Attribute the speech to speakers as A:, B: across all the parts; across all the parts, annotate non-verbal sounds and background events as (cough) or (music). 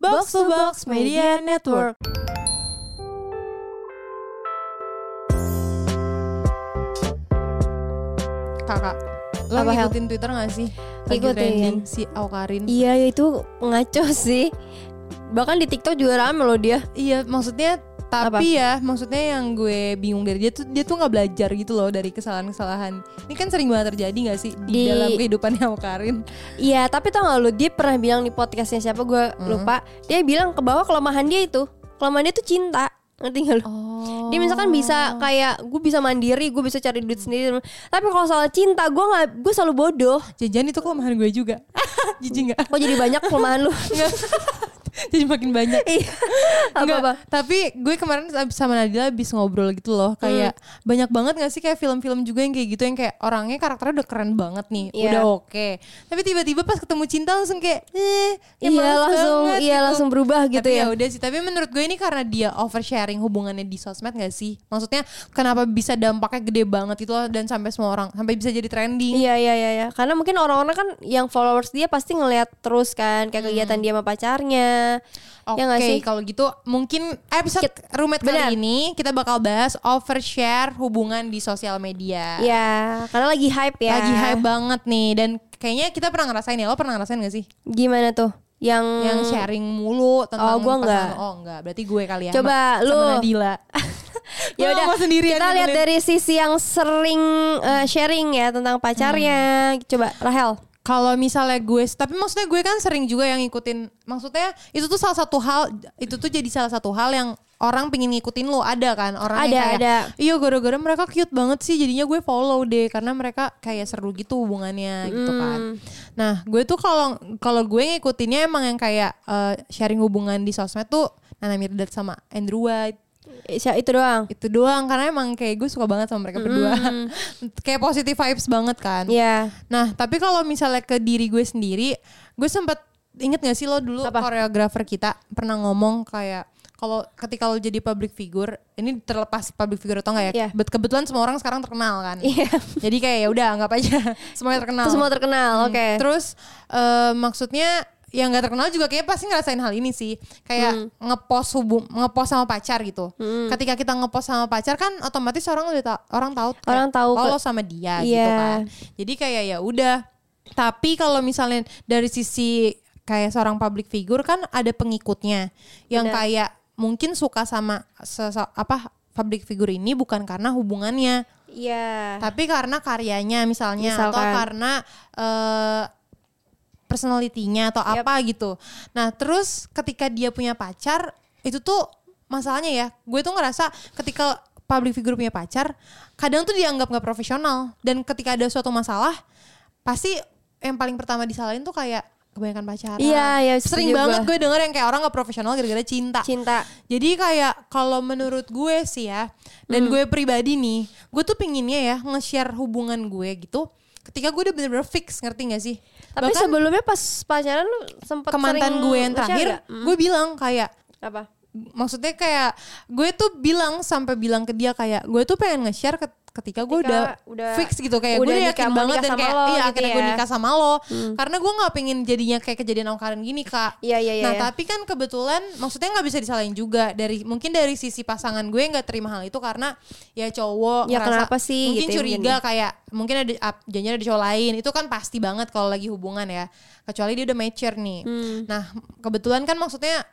A: Box to Box Media Network.
B: Kakak, lo
A: Apa, Hel?
B: ngikutin Twitter gak sih? Lagi
A: Ikutin.
B: trending si Aukarin.
A: Iya itu ngaco (laughs) sih. Bahkan di TikTok juga rame loh dia.
B: Iya, maksudnya tapi ya, maksudnya yang gue bingung dari dia tuh dia tuh nggak belajar gitu loh dari kesalahan-kesalahan. Ini kan sering banget terjadi gak sih di,
A: Di-
B: dalam kehidupannya Aukarin?
A: Iya tapi tau gak lu dia pernah bilang di podcastnya siapa gue
B: Hmm.
A: lupa. Dia bilang ke bawah kelemahan dia itu. Kelemahan dia tuh cinta. Ngerti gak lu?
B: Oh.
A: Dia misalkan bisa kayak gue bisa mandiri, gue bisa cari duit sendiri. Tapi kalau soal cinta gue nggak, gue selalu bodoh.
B: Jajan itu kelemahan gue juga. (laughs) Jijik nggak?
A: Kok jadi banyak kelemahan lu? (laughs)
B: Nggak. (laughs) Jadi makin banyak.
A: Iya.
B: Nggak,
A: Apa-apa?
B: Tapi gue kemarin ab- sama Nadila habis ngobrol gitu loh
A: Hmm.
B: kayak banyak banget gak sih kayak film-film juga yang kayak gitu yang kayak orangnya karakternya udah keren banget nih, udah
A: Iya.
B: oke. Tapi tiba-tiba pas ketemu cinta langsung kayak eh ya
A: Iya
B: males
A: langsung,
B: banget
A: iya
B: gitu.
A: langsung berubah gitu
B: tapi
A: ya.
B: udah sih, tapi menurut gue ini karena dia oversharing hubungannya di sosmed gak sih? Maksudnya kenapa bisa dampaknya gede banget itu loh dan sampai semua orang sampai bisa jadi trending.
A: Iya iya iya iya. Karena mungkin orang-orang kan yang followers dia pasti ngelihat terus kan kayak kegiatan dia sama pacarnya.
B: Hmm. Oke,
A: Ya nggak sih?
B: kalau gitu mungkin episode
A: Kit-
B: roommate
A: Benar.
B: kali ini kita bakal bahas overshare hubungan di sosial media.
A: Iya, karena lagi hype ya.
B: Lagi hype banget nih dan kayaknya kita pernah ngerasain ya. Lo pernah ngerasain gak sih?
A: Gimana tuh? Yang,
B: Yang sharing mulu tentang
A: Hmm. Oh, gua
B: pasangan.
A: nggak.
B: Oh, enggak. Berarti gue kali ya.
A: Coba
B: sama-
A: lu.
B: sama
A: (laughs)
B: Nadila.
A: ya
B: Gua
A: udah
B: ngomong sendirian
A: kita
B: nih,
A: lihat
B: Lin.
A: dari sisi yang sering eh, sharing ya
B: Hmm.
A: tentang pacarnya. Coba Rahel.
B: Kalau misalnya gue, tapi maksudnya gue kan sering juga yang ngikutin. Maksudnya itu tuh salah satu hal, itu tuh jadi salah satu hal yang orang pengen ngikutin lo ada kan orang yang
A: Ada,
B: kayak,
A: ada.
B: iya gara-gara mereka cute banget sih jadinya gue follow deh karena mereka kayak seru gitu hubungannya gitu
A: Hmm.
B: kan nah gue tuh kalau kalau gue ngikutinnya emang yang kayak eh, sharing hubungan di sosmed tuh Nana Mirdad sama Andrew White
A: Eh, Sya- Itu doang.
B: itu doang karena emang kayak gue suka banget sama mereka berdua
A: Hmm.
B: (laughs) kayak positive vibes banget kan
A: Iya. (laughs)
B: Nah, tapi kalau misalnya ke diri gue sendiri, gue sempat inget gak sih lo dulu
A: Apa?
B: koreografer kita pernah ngomong kayak kalau ketika lo jadi public figure, ini terlepas public figure atau enggak ya?
A: Iya.
B: bet- Kebetulan semua orang sekarang terkenal kan.
A: Iya.
B: Jadi kayak ya udah anggap aja (laughs) semuanya terkenal.
A: Itu semua terkenal. Oke.
B: Nah. Hmm. Terus eh, maksudnya yang nggak terkenal juga kayak pasti ngerasain hal ini sih.
A: Hmm.
B: Kayak ngepost hubung ngepost sama pacar gitu. Ketika kita ngepost sama pacar kan otomatis orang udah ta- orang tahu kayak,
A: Orang tahu
B: oh,
A: ke-
B: lo sama dia gitu
A: Iya.
B: kan. Jadi kayak ya udah. Tapi kalau misalnya dari sisi kayak seorang public figure kan ada pengikutnya yang
A: Benar.
B: kayak mungkin suka sama sese- apa public figure ini bukan karena hubungannya
A: Iya.
B: tapi karena karyanya misalnya atau
A: Misalkan.
B: karena eh personalitinya atau
A: Yap.
B: apa gitu. Nah, terus ketika dia punya pacar, itu tuh masalahnya ya. Gue tuh ngerasa ketika public figure punya pacar, kadang tuh dianggap nggak profesional dan ketika ada suatu masalah, pasti yang paling pertama disalahin tuh kayak kebanyakan pacaran.
A: Iya, iya,
B: Sering
A: setuju
B: banget
A: gue.
B: gue denger yang kayak orang nggak profesional gara-gara cinta.
A: Cinta.
B: Jadi kayak kalau menurut gue sih ya, dan
A: Hmm.
B: gue pribadi nih, gue tuh pinginnya ya nge-share hubungan gue gitu. Ketika gue udah bener-bener fix, ngerti gak sih?
A: Tapi
B: Bahkan
A: sebelumnya pas pacaran lu sempet
B: ke mantan
A: sering
B: gue yang
A: nge-share
B: terakhir,
A: nggak? Mm.
B: gue bilang kayak
A: apa?
B: maksudnya kayak gue tuh bilang sampai bilang ke dia kayak gue tuh pengen nge-share ket- ketika gue
A: Ketika
B: udah,
A: udah-
B: fix gitu kayak gue
A: udah
B: udah
A: nikah-
B: yakin
A: mau
B: banget
A: nikah
B: dan
A: sama
B: kayak
A: lo
B: iya
A: gitu
B: akhirnya gue
A: ya."
B: nikah sama lo karena gue nggak pengen jadinya kayak kejadian awkaran gini kak
A: Iya, iya, iya,
B: nah
A: iya.
B: tapi kan kebetulan maksudnya nggak bisa disalahin juga dari mungkin dari sisi pasangan gue nggak terima hal itu karena ya cowok
A: Ya, kenapa sih,
B: mungkin
A: gitu ya,
B: curiga kayak mungkin ada ap- janjian ada cowok lain itu kan pasti banget kalau lagi hubungan ya kecuali dia udah mature nih
A: Hmm.
B: nah kebetulan kan maksudnya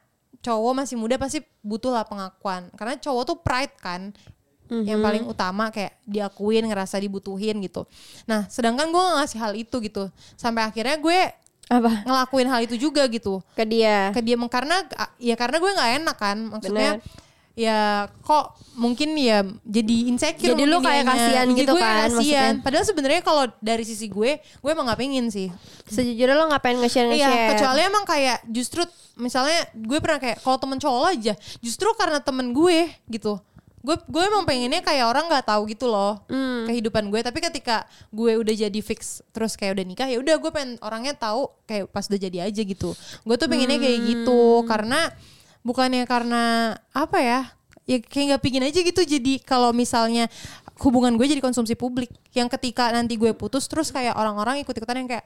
B: cowok masih muda pasti butuh lah pengakuan karena cowok tuh pride kan yang
A: Mhm.
B: paling utama kayak diakuin ngerasa dibutuhin gitu nah sedangkan gue nggak ngasih hal itu gitu sampai akhirnya gue
A: Apa?
B: ngelakuin hal itu juga gitu
A: Ke dia.
B: ke dia karena ya karena gue nggak enak kan maksudnya
A: Bener.
B: ya kok mungkin ya jadi insecure
A: Jadi lu
B: mungkin
A: kayak
B: dianya.
A: kasihan
B: Jadi
A: gitu
B: gue
A: kan,
B: kasihan.
A: maksudnya.
B: padahal sebenarnya kalau dari sisi gue gue emang nggak pengen sih
A: Sejujurnya lo ngapain nge-share nge-share?
B: Iya, kecuali emang kayak justru misalnya gue pernah kayak kalau temen cowok aja, justru karena temen gue gitu. Gue gue emang pengennya kayak orang nggak tahu gitu loh kehidupan gue, tapi ketika gue udah jadi fix terus kayak udah nikah ya udah gue pengen orangnya tahu kayak pas udah jadi aja gitu. Gue tuh pengennya kayak gitu karena bukannya karena apa ya? Ya kayak nggak pingin aja gitu jadi kalau misalnya hubungan gue jadi konsumsi publik yang ketika nanti gue putus terus kayak orang-orang ikut-ikutan yang kayak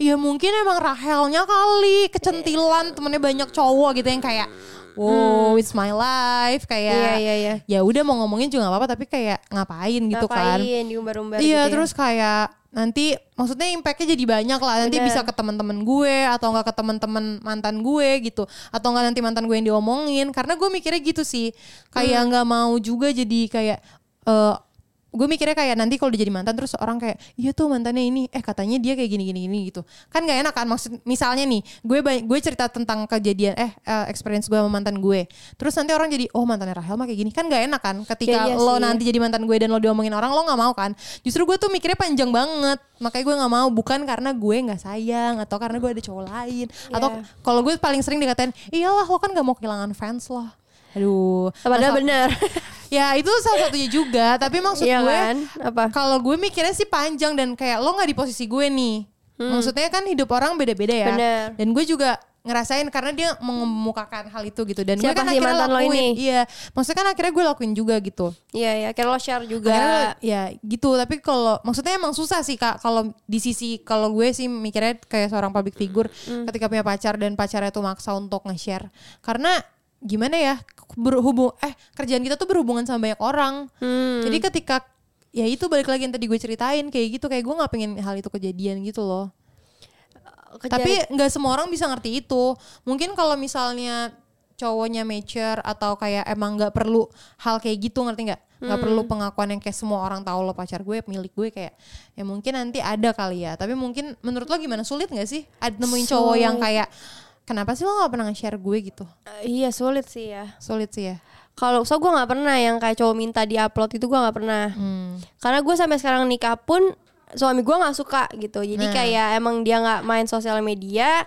B: ya mungkin emang Rahelnya kali kecentilan temennya banyak cowok gitu yang kayak wow it's my life kayak
A: Iya, Hmm. iya, iya.
B: ya udah mau ngomongin juga nggak apa-apa tapi kayak ngapain gitu kan
A: Ngapain diumbar-umbar
B: Iya
A: gitu ya.
B: terus kayak nanti maksudnya impactnya jadi banyak lah nanti
A: Bener.
B: bisa ke teman-teman gue atau enggak ke teman-teman mantan gue gitu atau enggak nanti mantan gue yang diomongin karena gue mikirnya gitu sih
A: Hmm.
B: kayak nggak mau juga jadi kayak eh gue mikirnya kayak nanti kalau dia jadi mantan terus orang kayak iya tuh mantannya ini eh katanya dia kayak gini gini gini gitu kan nggak enak kan maksud misalnya nih gue ba- gue cerita tentang kejadian eh eh, experience gue sama mantan gue terus nanti orang jadi oh mantannya Rahel mah kayak gini kan nggak enak kan ketika
A: iya
B: lo
A: sih.
B: nanti jadi mantan gue dan lo diomongin orang lo nggak mau kan justru gue tuh mikirnya panjang banget makanya gue nggak mau bukan karena gue nggak sayang atau karena gue ada cowok lain atau
A: Iya.
B: kalau gue paling sering dikatain iyalah lo kan nggak mau kehilangan fans lo aduh
A: Padahal
B: Masa-
A: benar.
B: ya itu salah satunya juga tapi (laughs) maksud
A: Iya
B: gue
A: kan? Apa?
B: kalau gue mikirnya sih panjang dan kayak lo nggak di posisi gue nih maksudnya kan hidup orang beda-beda ya
A: Hmm. Bener.
B: dan gue juga ngerasain karena dia mengemukakan hal itu gitu dan gue
A: Siapa
B: kan
A: sih
B: akhirnya
A: mantan lo
B: lakuin
A: ini?
B: iya maksudnya kan akhirnya gue lakuin juga gitu
A: Iya ya, kayak lo share
B: Akhirnya,
A: juga.
B: ya gitu tapi kalau maksudnya emang susah sih kak kalau di sisi kalau gue sih mikirnya kayak seorang public figure ketika punya pacar dan pacarnya tuh maksa untuk nge-share karena gimana ya berhubung eh kerjaan kita tuh berhubungan sama banyak orang
A: Hmm.
B: jadi ketika ya itu balik lagi yang tadi gue ceritain kayak gitu kayak gue nggak pengen hal itu kejadian gitu loh
A: Kejar-
B: tapi nggak semua orang bisa ngerti itu mungkin kalau misalnya cowoknya mature atau kayak emang nggak perlu hal kayak gitu ngerti nggak nggak perlu
A: Hmm.
B: pengakuan yang kayak semua orang tahu lo pacar gue milik gue kayak ya mungkin nanti ada kali ya tapi mungkin menurut lo gimana sulit nggak sih ada nemuin cowok yang kayak kenapa sih lo nggak pernah share gue gitu
A: Eh, iya sulit sih ya.
B: sulit sih ya
A: Kalau so gue nggak pernah yang kayak cowok minta diupload itu gue nggak pernah.
B: Hmm.
A: Karena gue sampai sekarang nikah pun suami gue nggak suka gitu.
B: Nah.
A: Jadi kayak emang dia nggak main sosial media.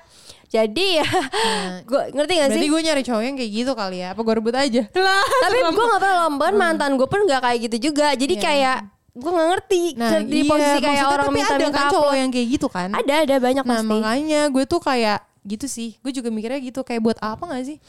A: Jadi ya (laughs) gue ngerti gak sih?
B: Nah. berarti gue nyari cowok yang kayak gitu kali ya apa gue rebut aja lah
A: Tapi gue nggak pernah lomban
B: Hmm.
A: mantan gue pun nggak kayak gitu juga. Jadi kayak gue nggak ngerti
B: Iya. nah
A: di
B: iya,
A: posisi kayak
B: maksudnya
A: orang
B: tapi
A: minta
B: ada
A: minta
B: kan cowok
A: upload.
B: yang kayak gitu kan
A: Ada ada banyak
B: nah
A: pasti.
B: makanya gue tuh kayak gitu sih gue juga mikirnya gitu kayak buat apa nggak sih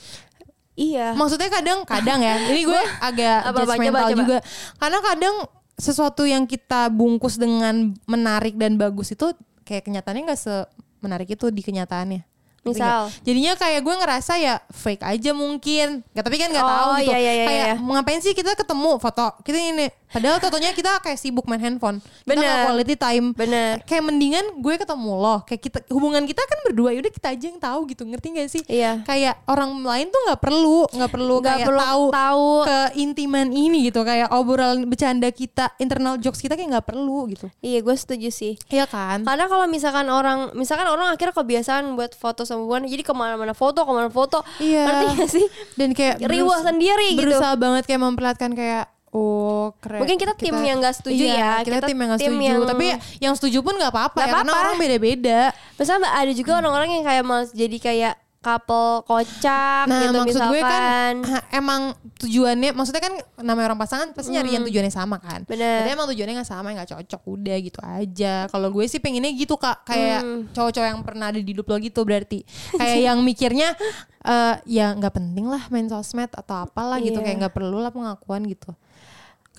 A: Iya.
B: maksudnya kadang-kadang Ah. ya ini
A: (laughs)
B: gue agak
A: Apa, apa,
B: judgmental
A: coba, coba.
B: juga karena kadang sesuatu yang kita bungkus dengan menarik dan bagus itu kayak kenyataannya nggak semenarik itu di kenyataannya Ngerti
A: Misal?
B: nggak? jadinya kayak gue ngerasa ya fake aja mungkin nggak tapi kan nggak
A: Oh,
B: tahu gitu
A: iya, iya, iya,
B: kayak
A: iya.
B: mau ngapain sih kita ketemu foto kita ini padahal fotonya kita kayak sibuk main handphone kita nggak
A: Bener.
B: quality time
A: Bener.
B: kayak mendingan gue ketemu lo kayak kita hubungan kita kan berdua yaudah kita aja yang tahu gitu ngerti gak sih
A: Iya.
B: kayak orang lain tuh nggak perlu nggak perlu
A: Nggak
B: kayak
A: perlu
B: tahu
A: tahu.
B: keintiman ini gitu kayak obrolan bercanda kita internal jokes kita kayak nggak perlu gitu
A: Iya gue setuju sih.
B: Iya kan
A: Karena kalau misalkan orang, misalkan orang akhirnya kebiasaan buat foto sama hubungan, jadi kemana-mana foto, kemana foto,
B: Iya.
A: ngerti gak sih?
B: dan kayak
A: Riuh
B: berus-
A: sendiri gitu.
B: berusaha banget kayak memperlihatkan kayak oh keren
A: Mungkin kita tim yang nggak setuju
B: Iya,
A: ya.
B: kita,
A: Kita
B: tim yang nggak
A: tim
B: setuju
A: yang-
B: tapi yang setuju pun nggak apa-apa
A: Nggak
B: ya, karena
A: apa-apa.
B: orang beda-beda
A: Misalnya mbak, ada
B: Hmm.
A: juga orang-orang yang kayak mau jadi kayak couple kocak
B: Nah
A: gitu
B: maksud
A: misalkan.
B: gue kan ah, emang tujuannya maksudnya kan namanya orang pasangan pasti nyari yang tujuannya sama kan.
A: Mm. Bener.
B: Jadi emang tujuannya nggak sama nggak cocok udah gitu aja. Kalau gue sih pengennya gitu kak kayak
A: Mm.
B: cowok-cowok yang pernah ada di hidup lo gitu berarti kayak yang mikirnya eh, ya nggak penting lah main sosmed atau apalah gitu
A: Iya.
B: kayak nggak perlu lah pengakuan gitu.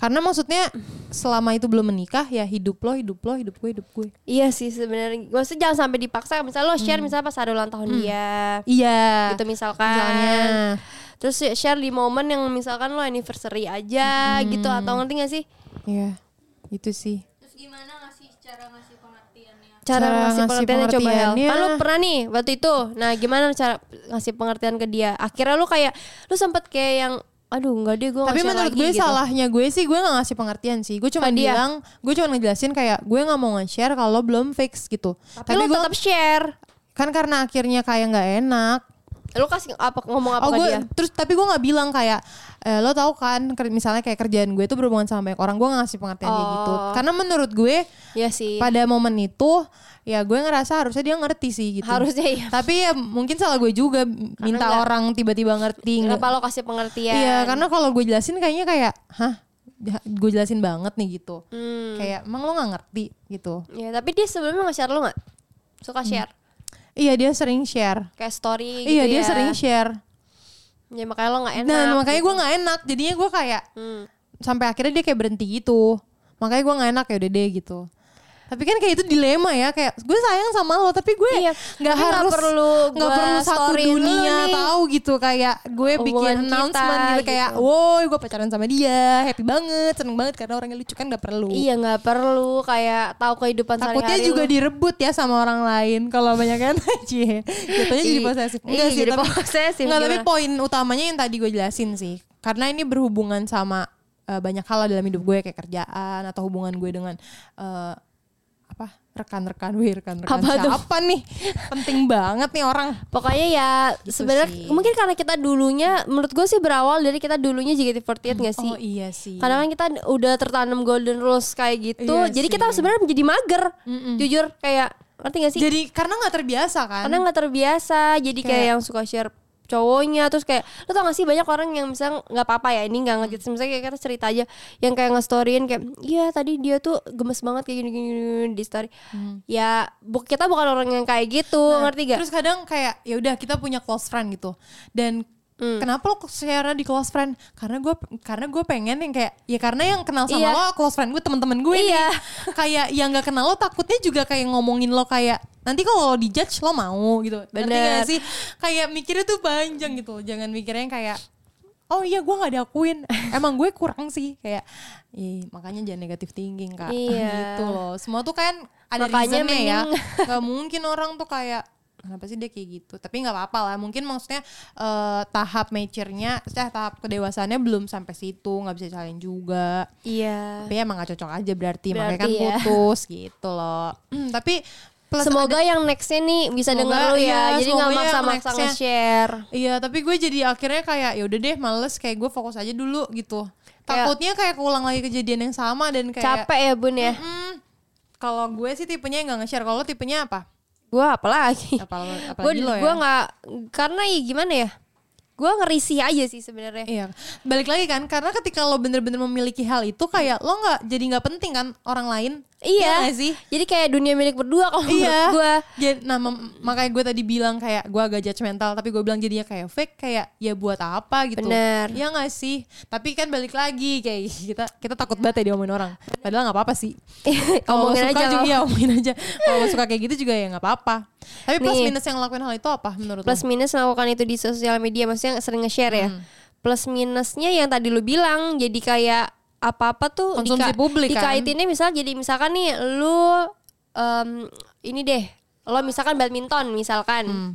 B: Karena maksudnya selama itu belum menikah ya hidup lo hidup lo hidup gue hidup gue.
A: Iya sih sebenarnya. Maksudnya jangan sampai dipaksa. Misalnya lo share misalnya pas hari ulang tahun
B: Hmm.
A: dia,
B: Iya.
A: gitu misalkan.
B: Misalnya.
A: Terus ya share di momen yang misalkan lo anniversary aja
B: Hmm.
A: gitu atau ngerti gak sih?
B: Iya. Itu sih.
C: Terus gimana ngasih cara ngasih pengertiannya?
A: cara,
B: Cara
A: ngasih
B: ngasih
A: pengertiannya coba Hel
B: pengertiannya.
A: kan lu pernah nih waktu itu nah gimana cara ngasih pengertian ke dia akhirnya lu kayak lu sempet kayak yang aduh enggak deh gue
B: tapi menurut gue salahnya gue sih gue nggak ngasih pengertian sih gue cuma
A: Ke gitu. dia.
B: bilang gue cuma ngejelasin kayak gue nggak mau nge-share kalau belum fix gitu
A: tapi,
B: tapi,
A: lu
B: gue
A: tetap share
B: kan karena akhirnya kayak nggak enak
A: lu kasih apa ngomong apa
B: oh
A: ke
B: gue
A: dia
B: terus tapi gue nggak bilang kayak eh, lo tau kan ker- misalnya kayak kerjaan gue itu berhubungan sama banyak orang gue nggak ngasih pengertian kayak gitu
A: Oh.
B: karena menurut gue
A: ya sih
B: pada momen itu ya gue ngerasa harusnya dia ngerti sih gitu
A: harusnya ya
B: tapi ya mungkin salah gue juga minta
A: nggak-
B: orang tiba-tiba ngerti nggak-
A: kenapa lo kasih pengertian
B: Iya, karena kalau gue jelasin kayaknya kayak, hah, Ja- gue jelasin banget nih gitu.
A: Hmm.
B: Kayak emang lo nggak ngerti gitu.
A: ya tapi dia sebelumnya nge-share lu nggak suka share
B: Iya dia sering share.
A: kayak story
B: Hmm. iya
A: gitu
B: dia
A: ya.
B: sering share. Nah,
A: ya makanya lo nggak enak gitu.
B: Dan makanya gue nggak enak. Jadinya gue kayak
A: Hmm.
B: sampai akhirnya dia kayak berhenti gitu. makanya gue nggak enak ya udah deh gitu tapi kan kayak itu dilema ya kayak gue sayang sama lo tapi gue
A: Iya, tapi
B: nggak
A: nggak
B: harus
A: perlu
B: nggak
A: gua
B: perlu satu
A: storyin lu
B: dunia
A: nih.
B: tahu gitu kayak gue bikin
A: Hubungan kita,
B: announcement gitu kayak
A: gitu.
B: woi gue pacaran sama dia happy banget seneng banget karena orangnya lucu kan nggak perlu
A: Iya nggak perlu kayak tahu kehidupan
B: Takutnya
A: sehari-hari
B: juga
A: lu. direbut
B: ya sama orang lain kalau banyak kan (laughs) aja jatuhnya jadi
A: Iya.
B: posesif
A: Iya, jadi posesif,
B: enggak, tapi
A: gimana?
B: poin utamanya yang tadi gue jelasin sih karena ini berhubungan sama eh, banyak hal dalam hidup gue kayak kerjaan atau hubungan gue dengan eh, apa rekan-rekan gue rekan-rekan
A: Apa tuh?
B: siapa nih
A: (laughs)
B: penting banget nih orang
A: Pokoknya ya sebenarnya
B: Gitu sih.
A: mungkin karena kita dulunya menurut gue sih berawal dari kita dulunya JKT48 nggak sih?
B: oh iya sih
A: Kadang kan kita udah tertanam golden rules kayak gitu.
B: Iya
A: jadi
B: sih.
A: kita sebenarnya menjadi mager. Jujur kayak ngerti gak sih?
B: jadi karena nggak terbiasa kan
A: karena nggak terbiasa. Jadi kayak,
B: Kayak-
A: yang suka share cowoknya terus kayak lo tau gak sih banyak orang yang misalnya nggak apa-apa ya ini nggak
B: Mm.
A: ngejat misalnya kayak kita cerita aja yang kayak ngestoryin kayak iya tadi dia tuh gemes banget kayak gini-gini di story ya bu kita bukan orang yang kayak gitu
B: Mm. Nah,
A: ngerti gak
B: Terus kadang kayak ya udah kita punya close friend gitu. Dan
A: Hmm.
B: kenapa lo share di close friend? Karena gue karena gue pengen yang kayak ya karena yang kenal sama
A: Iya.
B: lo close friend gue teman-teman gue
A: Iya.
B: nih. (laughs) kayak yang nggak kenal lo takutnya juga kayak ngomongin lo kayak nanti kalau lo dijudge lo mau gitu. Ngerti
A: Bener.
B: gak sih? Kayak mikirnya tuh panjang gitu. Jangan mikirnya yang kayak Oh iya gue gak diakuin (laughs) Emang gue kurang sih Kayak Ih, Makanya jangan negatif thinking kak
A: Iya.
B: Gitu loh Semua tuh kan Ada
A: Makanya
B: reasonnya ya
A: mending-
B: (laughs) nggak mungkin orang tuh kayak kenapa sih dia kayak gitu tapi nggak apa-apa lah mungkin maksudnya eh, tahap mature-nya eh, tahap kedewasaannya belum sampai situ nggak bisa salin juga
A: iya
B: tapi emang gak cocok aja berarti, makanya kan
A: Berarti ya.
B: putus gitu loh Hmm, tapi plus
A: semoga
B: ada-
A: yang nextnya nih bisa
B: Semoga,
A: denger lu ya.
B: iya,
A: jadi nggak
B: semoga yang
A: maksa-maksa
B: nextnya.
A: nge-share.
B: Iya, tapi gue jadi akhirnya kayak ya udah deh males kayak gue fokus aja dulu gitu.
A: Kayak-
B: Takutnya kayak keulang lagi kejadian yang sama dan kayak
A: Capek ya bun ya.
B: Mm, kalau gue sih tipenya yang gak nge-share. Kalau lo tipenya apa?
A: Gue apalagi.
B: Apa,
A: Gue
B: apalagi lo ya?
A: gue nggak karena ya gimana ya. Gue ngerisih aja sih sebenarnya.
B: Iya, balik lagi kan karena ketika lo bener-bener memiliki hal itu kayak lo nggak jadi nggak penting kan orang lain.
A: Iya.
B: nggak sih.
A: Jadi kayak dunia milik
B: Iya.
A: berdua kalau menurut gue.
B: Jadi, nah mem- makanya gue tadi bilang kayak gue agak judgmental tapi gue bilang jadinya kayak fake kayak ya buat apa gitu.
A: Bener.
B: Iya nggak sih. Tapi kan balik lagi kayak kita kita takut banget ya diomongin orang. Padahal nggak apa-apa sih. (laughs) Kalau lo suka
A: Iya, Omongin aja
B: juga
A: lo.
B: ya omongin aja. Kalau lo suka kayak gitu juga ya nggak apa-apa. Tapi plus
A: Nih.
B: minus yang ngelakuin hal itu apa menurut
A: Plus
B: lo? Hmm.
A: minus melakukan itu di sosial media maksudnya sering nge-share ya. Plus minusnya yang tadi lu bilang jadi kayak apa-apa tuh
B: Konsumsi publik kan?
A: dikaitinnya misal jadi misalkan nih lu em, ini deh lo misalkan badminton misalkan
B: Hmm.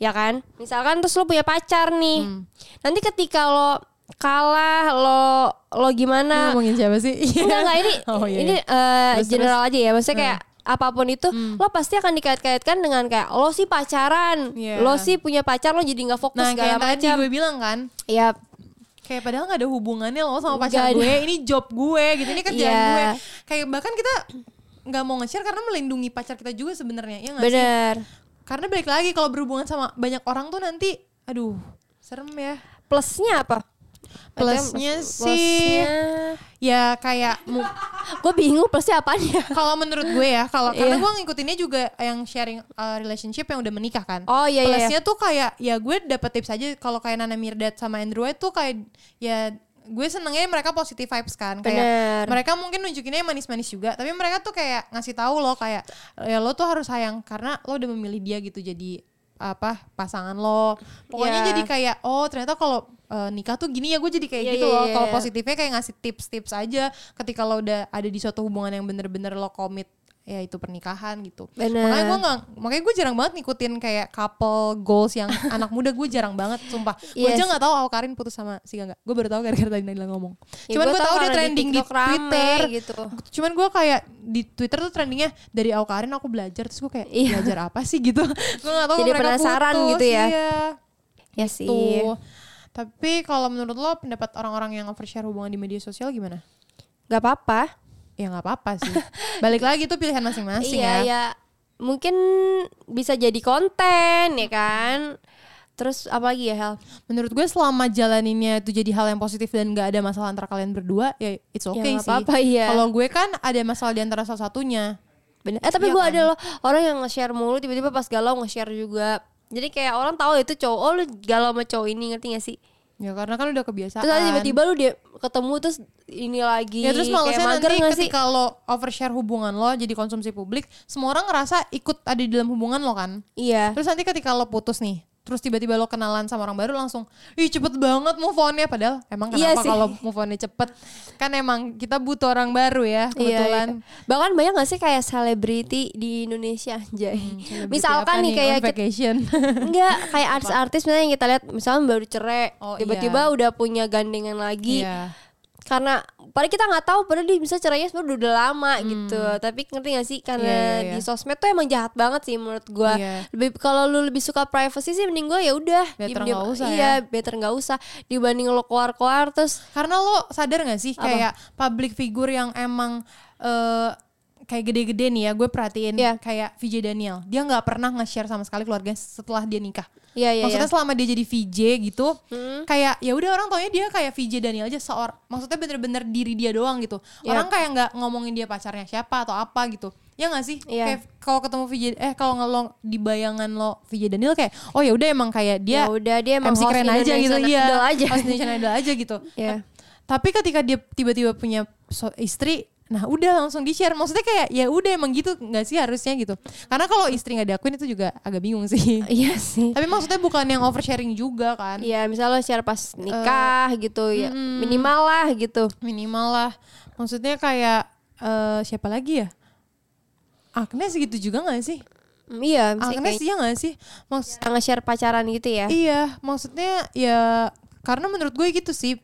A: ya kan misalkan terus lu punya pacar nih
B: Hmm.
A: nanti ketika lo kalah lo lo
B: Ini
A: gimana
B: ngomongin siapa sih? Iya.
A: Enggak enggak ini
B: (laughs) Oh, iya,
A: ini
B: iya.
A: eh,
B: Terus, Hmm.
A: general aja ya. Maksudnya kayak apapun itu lo pasti akan dikait-kaitkan dengan kayak lo sih pacaran,
B: Iya.
A: lo sih punya pacar lo jadi nggak fokus
B: Nah, kayak
A: segala
B: yang tadi
A: macam.
B: gue bilang kan,
A: Ya
B: kayak padahal nggak ada hubungannya loh sama pacar
A: Nggak ada.
B: gue ini job gue gitu ini kerjaan
A: Iya.
B: gue kayak bahkan kita nggak mau nge-share karena melindungi pacar kita juga sebenarnya ya nggak sih
A: bener.
B: karena balik lagi kalau berhubungan sama banyak orang tuh nanti aduh serem ya
A: Plusnya apa?
B: Plusnya sih-
A: plusnya-
B: ya kayak (laughs) mu-
A: (laughs) gue bingung plusnya apanya.
B: kalau menurut gue ya kalau karena
A: Iya.
B: gue ngikutinnya juga yang sharing uh, relationship yang udah menikah kan
A: Oh, iya, iya, iya.
B: plusnya tuh kayak ya gue dapet tips aja kalau kayak Nana Mirdad sama Andrew White tuh kayak ya gue senengnya mereka positive vibes kan kayak
A: Bener.
B: mereka mungkin nunjukinnya yang manis-manis juga tapi mereka tuh kayak ngasih tahu lo kayak ya lo tuh harus sayang karena lo udah memilih dia gitu jadi apa pasangan lo pokoknya
A: Iya.
B: jadi kayak oh ternyata kalau uh, nikah tuh gini ya gue jadi kayak
A: Iya,
B: gitu
A: iya,
B: loh
A: iya,
B: kalau
A: iya.
B: positifnya kayak ngasih tips-tips aja ketika lo udah ada di suatu hubungan yang bener-bener lo komit ya itu pernikahan gitu
A: Bener.
B: makanya gue nggak makanya gue jarang banget ngikutin kayak couple goals yang anak muda gue jarang banget sumpah gue
A: Yes.
B: aja nggak tahu Awal Karin putus sama si Gangga gue baru tahu gara-gara tadi Naila ngomong
A: Ya,
B: cuman
A: gua
B: gue
A: tahu
B: tahu dia
A: karena di
B: trending di,
A: TikTok rame
B: Twitter
A: gitu.
B: cuman gue kayak di Twitter tuh trendingnya dari Awal Karin aku belajar terus gue kayak
A: Iya.
B: belajar apa sih
A: (laughs)
B: gitu gue nggak tahu
A: Jadi
B: kalau mereka
A: penasaran
B: putus,
A: gitu ya.
B: iya
A: Ya sih.
B: tuh. Tapi kalau menurut lo pendapat orang-orang yang overshare hubungan di media sosial gimana?
A: Gak apa-apa.
B: Ya nggak apa-apa
A: (laughs)
B: sih. Balik lagi itu pilihan masing-masing
A: iya,
B: ya.
A: ya. Mungkin bisa jadi konten ya kan. Terus apa lagi ya Hel?
B: Menurut gue selama jalaninnya itu jadi hal yang positif dan nggak ada masalah antara kalian berdua, ya it's okay
A: nggak
B: sih.
A: apa-apa, iya.
B: Kalau gue kan ada masalah di antara salah satunya.
A: Bener. Eh tapi
B: Iya
A: gua
B: kan?
A: ada loh orang yang nge-share mulu tiba-tiba pas galau nge-share juga. Jadi kayak orang tahu itu cowok, oh lu galau sama cowok ini ngerti gak sih?
B: Ya karena kan udah kebiasaan.
A: Terus nanti tiba-tiba lu dia ketemu terus ini
B: kan.
A: lagi
B: Ya terus
A: kayak
B: malesnya
A: mager
B: nanti
A: nggak sih?
B: ketika lo overshare hubungan lo jadi konsumsi publik, semua orang ngerasa ikut ada di dalam hubungan lo kan.
A: Iya.
B: Terus nanti ketika lo putus nih, terus tiba-tiba lo kenalan sama orang baru langsung, ih cepet banget move onnya padahal emang
A: Iya
B: kenapa
A: sih.
B: kalau move onnya cepet? Kan emang kita butuh orang baru ya
A: Iya,
B: kebetulan.
A: iya. Bahkan banyak gak sih kayak selebriti di Indonesia anjay.
B: Hmm, Selebriti
A: misalkan
B: apa Oh,
A: nih kayak
B: on
A: (laughs)
B: vacation.
A: enggak kayak artis-artis misalnya yang kita lihat misalnya baru cerai,
B: Oh,
A: tiba-tiba
B: iya.
A: udah punya gandengan lagi.
B: Iya.
A: Karena padahal kita nggak tahu padahal dia bisa cerainya sebenarnya udah, udah lama gitu. Tapi ngerti gak sih karena
B: Hmm. Iya, iya, iya.
A: di sosmed tuh emang jahat banget sih menurut gua.
B: Iya.
A: Lebih kalau lu lebih suka privacy sih mending gua ya udah
B: Better
A: diem-diem-
B: nggak usah ya.
A: Iya, better nggak usah dibanding lo keluar-keluar terus
B: Karena lo sadar gak sih kayak public figure yang emang eh, kayak gede-gede nih ya, gue perhatiin
A: Iya.
B: kayak VJ Daniel. Dia nggak pernah nge-share sama sekali keluarganya setelah dia nikah.
A: Iya, iya,
B: Maksudnya
A: iya. Hmm.
B: selama dia jadi VJ gitu, kayak ya udah orang taunya dia kayak VJ Daniel aja seorang. Maksudnya bener-bener diri dia doang gitu.
A: Iya.
B: Orang kayak nggak ngomongin dia pacarnya siapa atau apa gitu. Ya nggak sih?
A: Iya.
B: Kayak kalau ketemu VJ eh kalau nge- lo di bayangan lo VJ Daniel kayak oh ya udah emang kayak dia
A: Ya udah, dia emang
B: MC
A: host
B: keren aja gitu
A: Indonesian
B: iya.
A: Idol aja.
B: Host Indonesian Idol aja gitu.
A: (laughs) Iya.
B: Tapi ketika dia tiba-tiba punya so- istri, nah udah langsung di-share. Maksudnya kayak ya udah emang gitu nggak sih harusnya gitu. Karena kalau istri nggak diakuin itu juga agak bingung (laughs) sih.
A: iya sih.
B: Tapi maksudnya bukan yang oversharing juga kan. Eh,
A: Iya, misalnya lo share pas nikah gitu ya. Minimal lah gitu.
B: Minimal lah. Maksudnya kayak eh, siapa lagi ya? Agnes gitu juga nggak sih?
A: Mm, iya, misalnya
B: Agnes iya nggak sih? Maksud
A: kayak nge-share pacaran gitu ya.
B: Iya, maksudnya ya karena menurut gue gitu sih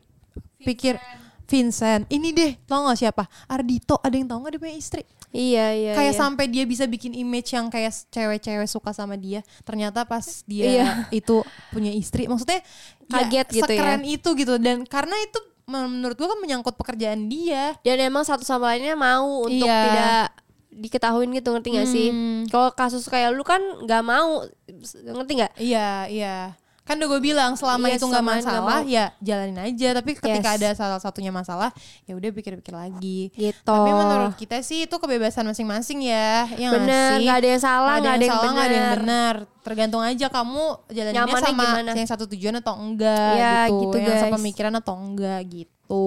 B: pikir Vincent. Ini deh, tau gak siapa? Ardito, ada yang tau gak dia punya istri?
A: Iya, iya.
B: kayak
A: iya.
B: sampai dia bisa bikin image yang kayak cewek-cewek suka sama dia. Ternyata pas dia
A: Iya.
B: itu punya istri, maksudnya
A: Kaget gitu ya.
B: sekeren itu gitu dan karena itu menurut gue kan menyangkut pekerjaan dia.
A: Dan emang satu sama lainnya mau untuk
B: Iya. Hmm.
A: tidak diketahuin gitu ngerti gak sih? Kalau kasus kayak lu kan nggak mau ngerti nggak?
B: Iya, iya. Kan udah gue bilang selama
A: Iya,
B: itu nggak
A: selama nggak
B: masalah,
A: mau.
B: ya jalanin aja. Tapi ketika
A: Yes.
B: ada salah satunya masalah, ya udah pikir-pikir lagi.
A: Gitu.
B: Tapi menurut kita sih itu kebebasan masing-masing ya. Yang
A: Bener, nggak ada yang salah, nggak ada yang
B: salah, nggak ada yang
A: benar.
B: benar. Tergantung aja kamu jalaninnya
A: Nyamannya
B: sama
A: gimana.
B: yang satu tujuan atau enggak
A: Ya,
B: gitu,
A: gitu,
B: yang
A: guys.
B: sepemikiran atau enggak gitu.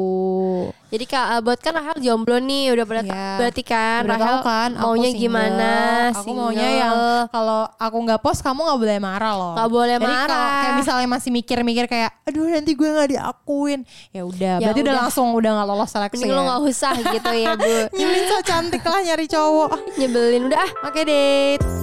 A: Jadi Kak, buat kan Rahel jomblo nih udah pada
B: Iya.
A: berarti kan
B: Udah
A: Rahel
B: tahu kan, aku
A: maunya
B: single.
A: gimana?
B: Aku maunya
A: single.
B: yang kalau aku nggak post kamu nggak boleh marah loh.
A: Nggak boleh
B: Jadi kalau
A: marah.
B: kayak misalnya masih mikir-mikir kayak, aduh nanti gue nggak diakuin, ya udah.
A: Ya
B: Berarti udah
A: udah.
B: langsung udah nggak lolos seleksi.
A: mending lu
B: ya. (laughs)
A: nggak usah gitu ya, Bu.
B: Nyebelin so cantik lah nyari cowok.
A: Nyebelin udah ah.
B: Oke deh.